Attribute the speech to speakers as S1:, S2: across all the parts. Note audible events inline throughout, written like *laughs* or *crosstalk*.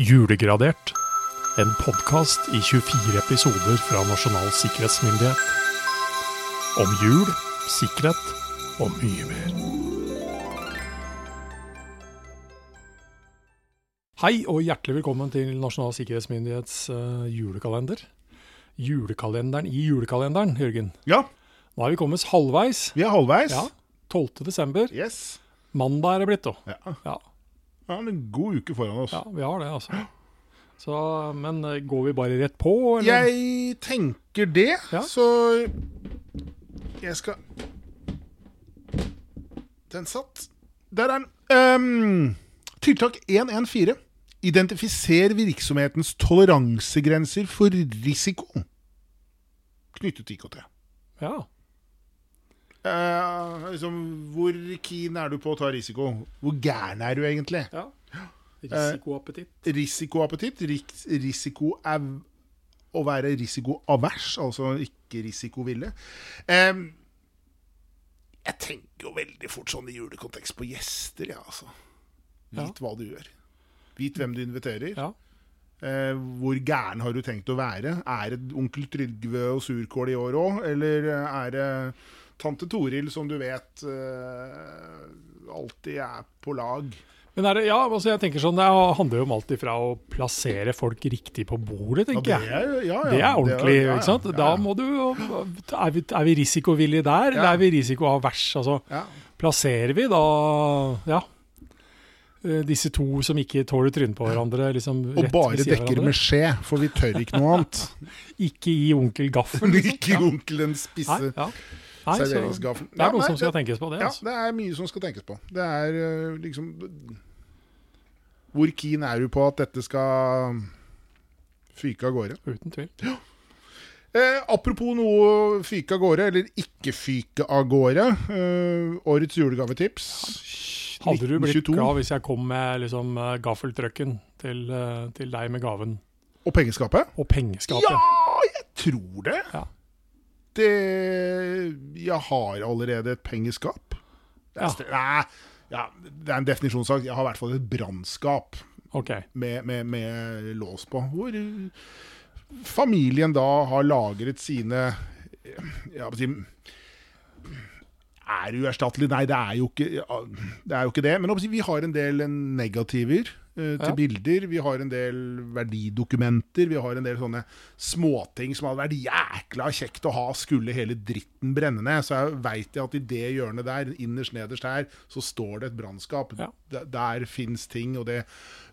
S1: Julegradert. En podkast i 24 episoder fra Nasjonal sikkerhetsmyndighet. Om jul, sikkerhet og mye mer. Hei og hjertelig velkommen til Nasjonal sikkerhetsmyndighets eh, julekalender. Julekalenderen i julekalenderen, Jørgen.
S2: Ja,
S1: Nå er vi kommet halvveis.
S2: vi er halvveis.
S1: Ja, 12. desember.
S2: Yes.
S1: Mandag er det blitt, da.
S2: Ja.
S1: Ja.
S2: Vi har en god uke foran oss.
S1: Ja, vi har det, altså. Så, men eh, går vi bare rett på, eller?
S2: Jeg tenker det,
S1: Ja.
S2: så jeg skal Den satt. Der er den. Ehm, tiltak 114. Identifiser virksomhetens toleransegrenser for risiko knyttet til IKT.
S1: Ja.
S2: Eh, liksom, hvor keen er du på å ta risiko? Hvor gæren er du egentlig?
S1: ja. Eh, Risikoappetitt.
S2: risikoappetitt, ris risiko av- å være risikoavers, altså ikke risikoville. Em, jeg tenker jo veldig fort sånn i julekontekst på gjester, jeg, altså.
S1: Ja.
S2: Vit hva du gjør. Vit hvem du inviterer.
S1: Ja.
S2: Eh, hvor gæren har du tenkt å være? Er det onkel Trygve og surkål i år òg, eller er det tante Toril som du vet eh, alltid er på lag?
S1: Men er det, ja, altså jeg tenker sånn, det handler jo om alt ifra å plassere folk riktig på bordet, tenker jeg.
S2: er, jo- ja, ja.
S1: Det er ordentlig,
S2: ja, ja,
S1: ikke sant?
S2: ja,
S1: Da
S2: ja.
S1: må du jo Er vi, er vi risikovillige der, eller
S2: Ja.
S1: er vi risikoavers? Altså,
S2: Ja.
S1: plasserer vi da Ja. eh, Disse to som ikke tåler trynet på hverandre, liksom
S2: Og
S1: rett
S2: bare
S1: ved siden av
S2: dekker
S1: hverandre.
S2: med skje, for vi tør ikke noe *laughs* annet.
S1: Ikke gi onkel
S2: *laughs*
S1: gaffel.
S2: Ikke onkel den
S1: Nei,
S2: spisse
S1: ja. Nei, så, det
S2: serveringsgaffelen.
S1: er noe
S2: nei,
S1: som skal
S2: det-
S1: tenkes på, det.
S2: ja,
S1: Altså.
S2: det er mye som skal tenkes på. Det er øh, liksom Hvor keen er du på at dette skal fyke av gårde?
S1: Uten tvil.
S2: Eh, apropos noe fyke av gårde, eller ikke fyke av gårde. Eh, årets julegavetips.
S1: Hadde du blitt
S2: 1922.
S1: glad hvis jeg kom med liksom, eh, gaffeltrucken til, eh, til deg med gaven?
S2: Og pengeskapet?
S1: Og pengeskapet.
S2: Ja, jeg tror det.
S1: Ja.
S2: Det Jeg har allerede et pengeskap. Det
S1: Ja.
S2: er, stre- Nei, ja, det er en definisjonssak. Jeg har i hvert fall et brannskap
S1: Ok.
S2: med, med, med lås på. Hvor eh, familien da har lagret sine eh, ja, hva skal jeg si, Er uerstattelig? Nei, det er jo ikke, ja, det, er jo ikke det. Men hva skal jeg si, vi har en del eh, negativer eh, til
S1: Ja.
S2: bilder. Vi har en del verdidokumenter. Vi har en del sånne småting som hadde vært jækla kjekt å ha, skulle hele dritten brenne ned. Så jeg veit at i det hjørnet der, innerst nederst her, så står det et brannskap.
S1: Ja.
S2: Der, der fins ting, og det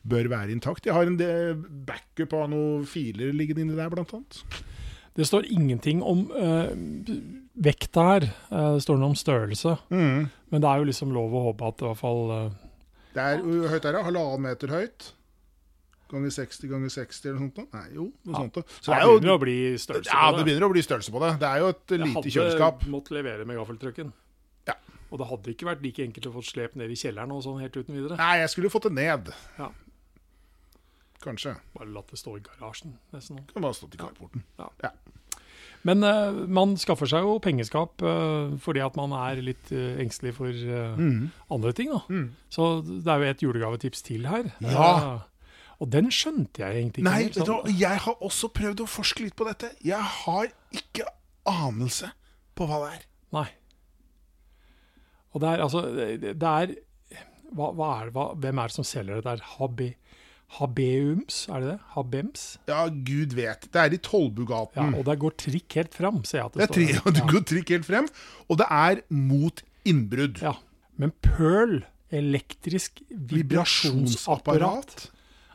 S2: bør være intakt. Jeg har en del backup av noen filer liggende inni der, blant annet.
S1: Det står ingenting om eh, vekta her. Eh, det står noe om størrelse.
S2: Mm.
S1: Men det er jo liksom lov å håpe at i hvert fall eh,
S2: Det er hvor høyt er det? Halvannen meter høyt? Ganger 60 ganger 60 eller noe sånt? da? Nei, jo, noe
S1: Ja.
S2: sånt. da.
S1: Det
S2: Så det
S1: begynner
S2: er
S1: å
S2: jo
S1: bli størrelse
S2: ja, det begynner å bli størrelse på det. Det er jo et
S1: Jeg
S2: lite kjøleskap.
S1: hadde måttet levere med gaffeltrucken.
S2: Ja.
S1: Og det hadde ikke vært like enkelt å få slep ned i kjelleren og sånn helt uten videre.
S2: Nei, jeg skulle fått det ned.
S1: Ja.
S2: Kanskje.
S1: Bare latt det stå i garasjen. nesten.
S2: Kan bare stått i carporten.
S1: Men eh, man skaffer seg jo pengeskap eh, fordi at man er litt eh, engstelig for eh, andre ting. da.
S2: Mm.
S1: Så det er jo et julegavetips til her.
S2: Ja.
S1: Eh, og den skjønte jeg egentlig ikke.
S2: Nei,
S1: helt,
S2: vet du
S1: sånn.
S2: hva, jeg har også prøvd å forske litt på dette. Jeg har ikke anelse på hva det er.
S1: Nei. Og det er altså Det det er hva, hva er det, hva, Hvem er det som selger det der? Habe, habeums, er det det? Habems?
S2: Ja, gud vet. Det er i
S1: Ja,
S2: Tollbugaten.
S1: Og der går trikk helt fram, ser jeg at
S2: Mm.
S1: det,
S2: det er *laughs* tre,
S1: står.
S2: og du går trikk helt frem. Og det er mot innbrudd.
S1: Ja. Men Pearl, elektrisk vibrasjonsapparat,
S2: Vibrasjonsapparat?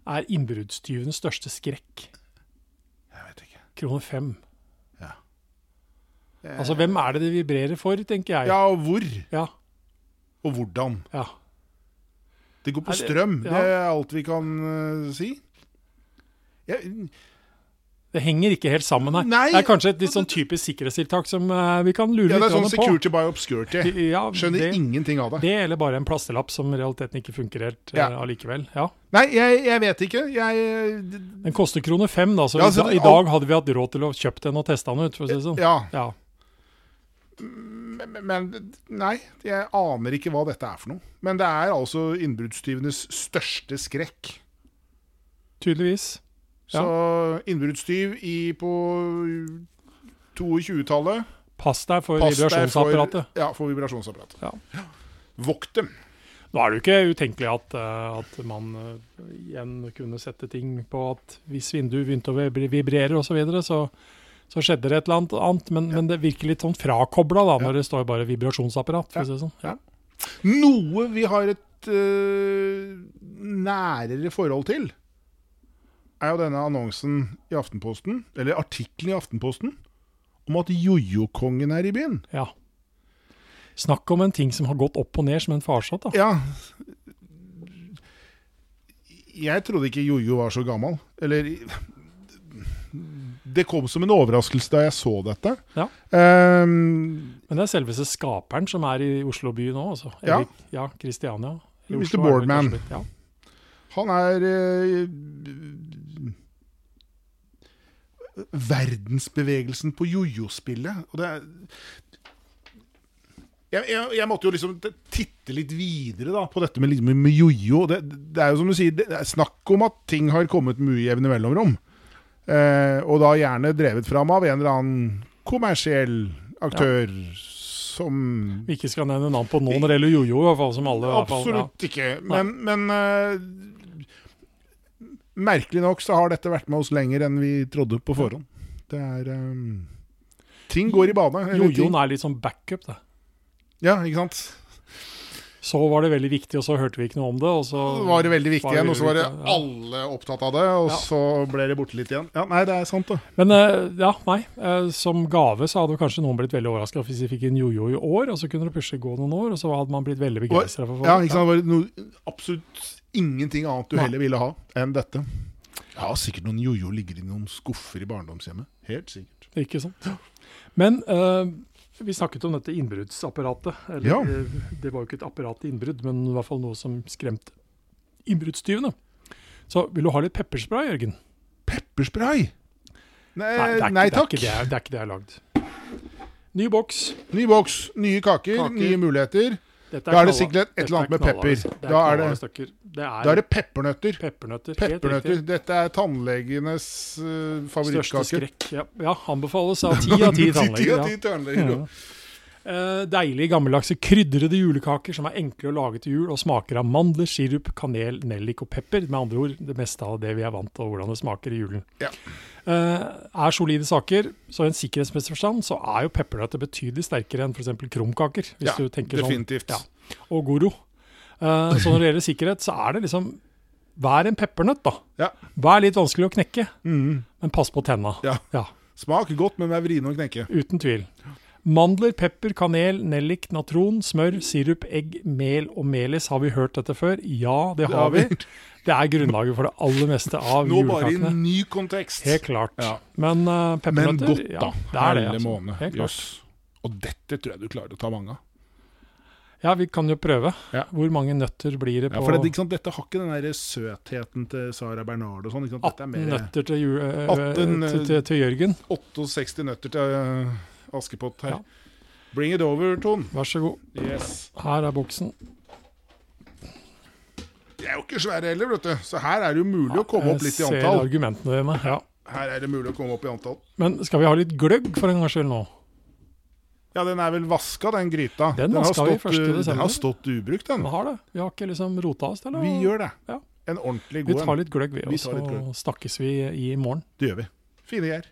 S1: er innbruddstyvens største skrekk.
S2: Jeg vet ikke.
S1: Kroner fem.
S2: Ja.
S1: Altså, hvem er det det vibrerer for, tenker jeg.
S2: Eh. Ja, og hvor?
S1: Ja.
S2: Og hvordan?
S1: ja.
S2: Det går
S1: Er
S2: på
S1: det-
S2: strøm.
S1: ja.
S2: Det er alt vi kan eh, si. Jeg,
S1: Det henger ikke helt sammen her.
S2: Nei.
S1: Det er kanskje et litt sånn typisk sikkerhetstiltak som eh, vi kan lure
S2: ja, det er
S1: litt grann
S2: sånn
S1: på.
S2: security by obscurity.
S1: Ja,
S2: Skjønner
S1: det-
S2: ingenting av det.
S1: Det eller bare en plastelapp som i realiteten ikke funker helt eh,
S2: Ja.
S1: allikevel. Ja.
S2: Nei, jeg, jeg vet ikke. Jeg
S1: Den koster kroner fem, da, så
S2: Ja,
S1: i
S2: så
S1: da-
S2: det-
S1: i dag hadde vi hatt råd til å kjøpt den og testa den ut, for å si det sånn.
S2: Ja.
S1: Ja.
S2: Men, men nei, jeg aner ikke hva dette er for noe. Men det er altså innbruddstyvenes største skrekk.
S1: Tydeligvis.
S2: Så innbruddstyv i- på 22-tallet
S1: Pass deg for
S2: Pass deg for-
S1: vibrasjonsapparatet.
S2: Ja, for vibrasjonsapparatet.
S1: Ja.
S2: Vokt dem.
S1: Nå er det jo ikke utenkelig at, eh, at man eh, igjen kunne sette ting på at hvis vinduet begynte å vibri- vibrere osv., så, videre, så så skjedde det et eller annet annet, men, men det virker litt sånn frakobla da, når
S2: Ja.
S1: det står bare vibrasjonsapparat. for
S2: Ja.
S1: å si det sånn.
S2: Ja. Noe vi har et eh, nærere forhold til, er jo denne annonsen i Aftenposten, eller artikkelen i Aftenposten, om at jojo-kongen er i byen.
S1: Ja. Snakk om en ting som har gått opp og ned som en farsott. da.
S2: Ja. Jeg trodde ikke jojo var så gammel. Eller Det kom som en overraskelse da jeg så dette.
S1: Ja.
S2: Ehm,
S1: Men det er selveste skaperen som er i Oslo by nå, altså.
S2: Ja.
S1: Erik- ja, Kristiania. Eller
S2: Mr.
S1: Oslo er vel
S2: Boardman.
S1: kanskje litt- Ja.
S2: han er eh, Verdensbevegelsen på jojo-spillet. Og det er jeg, jeg, jeg måtte jo liksom titte litt videre da, på dette med, liksom, med jojo. Det, det er jo som du sier, det er snakk om at ting har kommet med ujevne mellomrom. Eh, og da gjerne drevet fram av en eller annen kommersiell aktør som
S1: Vi ikke skal nevne navn på nå når det gjelder jojo, i hvert fall som alle i hvert fall, ja.
S2: Absolutt ikke. Men, men eh, merkelig nok så har dette vært med oss lenger enn vi trodde på forhånd. Det er eh, Ting går i bane. eller ting-
S1: Jojoen er litt sånn backup, det.
S2: Ja, ikke sant?
S1: Så var det veldig viktig, og så hørte vi ikke noe om det. Og så
S2: Så var det veldig viktig
S1: Var det
S2: igjen, og så var det
S1: veldig viktig, ja.
S2: alle opptatt av det, og
S1: Ja.
S2: så ble det borte litt igjen. Ja, Nei, det er sant, det.
S1: Men eh, ja, nei. eh, Som gave så hadde kanskje noen blitt veldig overraska hvis de fikk en jojo i år, og så kunne det plutselig gå noen år, og så hadde man blitt veldig begeistra for
S2: Ja, ikke sant? Det var noe, absolutt ingenting annet du
S1: Nei.
S2: heller ville ha enn dette. Jeg har sikkert noen jojo ligger i noen skuffer i barndomshjemmet. Helt sikkert.
S1: Ja, Ikke sant. Men eh, vi snakket om dette innbruddsapparatet. Eller,
S2: Ja.
S1: eh, Det var jo ikke et apparat til innbrudd, men i hvert fall noe som skremte innbruddstyvene. Så vil du ha litt pepperspray, Jørgen?
S2: Pepperspray! Nei,
S1: det er ikke-
S2: Eh, nei takk.
S1: Det er ikke det, jeg- det, er ikke det jeg har lagd. Ny boks.
S2: Ny boks, nye kaker,
S1: Kaker.
S2: nye muligheter.
S1: Dette
S2: Da er det
S1: knalla-
S2: sikkert et
S1: dette
S2: eller annet med
S1: knallharde-
S2: pepper.
S1: Det er
S2: Da er det-
S1: knallharde stykker. det er,
S2: Da er det peppernøtter.
S1: peppernøtter. helt
S2: Peppernøtter.
S1: riktig.
S2: Dette er tannlegenes uh,
S1: Største
S2: favorittkake.
S1: skrekk. Ja, ja anbefales
S2: *laughs*
S1: av ti av ti
S2: Ti av
S1: tannleger.
S2: ti
S1: Ja.
S2: tannleger.
S1: Ja. Eh, Deilige, gammeldagse, krydrede julekaker som er enkle å lage til jul og smaker av mandler, sirup, kanel, nellik og pepper. Med andre ord det meste av det vi er vant til, og hvordan det smaker i julen.
S2: Ja.
S1: Eh, er solide saker, så i en sikkerhetsmessig forstand så er jo peppernøtter betydelig sterkere enn f.eks. krumkaker. Hvis
S2: Ja,
S1: du tenker sånn
S2: Definitivt.
S1: Ja. og Goro. Eh, så når det gjelder sikkerhet, så er det liksom Vær en peppernøtt, da.
S2: Ja.
S1: Vær litt vanskelig å knekke,
S2: Mhm.
S1: men pass på tenna.
S2: Ja. Smak godt, men vær vrien å knekke.
S1: Uten tvil. Mandler, pepper, kanel, nellik, natron, smør, sirup, egg, mel og melis. Har vi hørt dette før? Ja, det har vi. Det er grunnlaget for det aller meste av
S2: Nå bare i
S1: julekakene.
S2: en ny kontekst.
S1: Helt klart.
S2: Ja.
S1: Men eh,
S2: Men
S1: peppernøtter
S2: godt, da.
S1: Ja, det er det,
S2: Hele
S1: altså.
S2: måned.
S1: Helt klart.
S2: Jøss. Og dette tror jeg du klarer å ta mange av.
S1: Ja, vi kan jo prøve.
S2: Ja.
S1: Hvor mange nøtter blir det
S2: Ja,
S1: på
S2: for det, ikke sant, dette har ikke den der søtheten til Sara Bernard og sånn. ikke sant?
S1: 18
S2: Dette er mer
S1: nøtter til, jul, eh,
S2: 18, eh,
S1: til, til, til Jørgen?
S2: 68 nøtter til eh, Askepott her.
S1: Ja.
S2: Bring it over, Ton.
S1: Vær så god.
S2: Yes.
S1: Her er boksen.
S2: De er jo ikke svære heller, vet du. Så her er det jo mulig å komme opp litt
S1: Jeg
S2: i
S1: ser
S2: antall.
S1: argumentene dine. Ja.
S2: Her er det mulig å komme opp i antall.
S1: Men skal vi ha litt gløgg for en gangs skyld nå?
S2: Ja, den er vel vaska, den gryta.
S1: Den
S2: har
S1: vaska vi
S2: stått,
S1: 1.
S2: uh,
S1: desember.
S2: Den har stått ubrukt, den.
S1: Vi har det. Vi har ikke liksom rota oss til det.
S2: Vi gjør det.
S1: Ja.
S2: En ordentlig
S1: Vi
S2: god
S1: tar
S2: en.
S1: litt gløgg, vi,
S2: Vi
S1: og
S2: tar litt gløgg.
S1: så snakkes vi i morgen.
S2: Det gjør vi. Fine greier.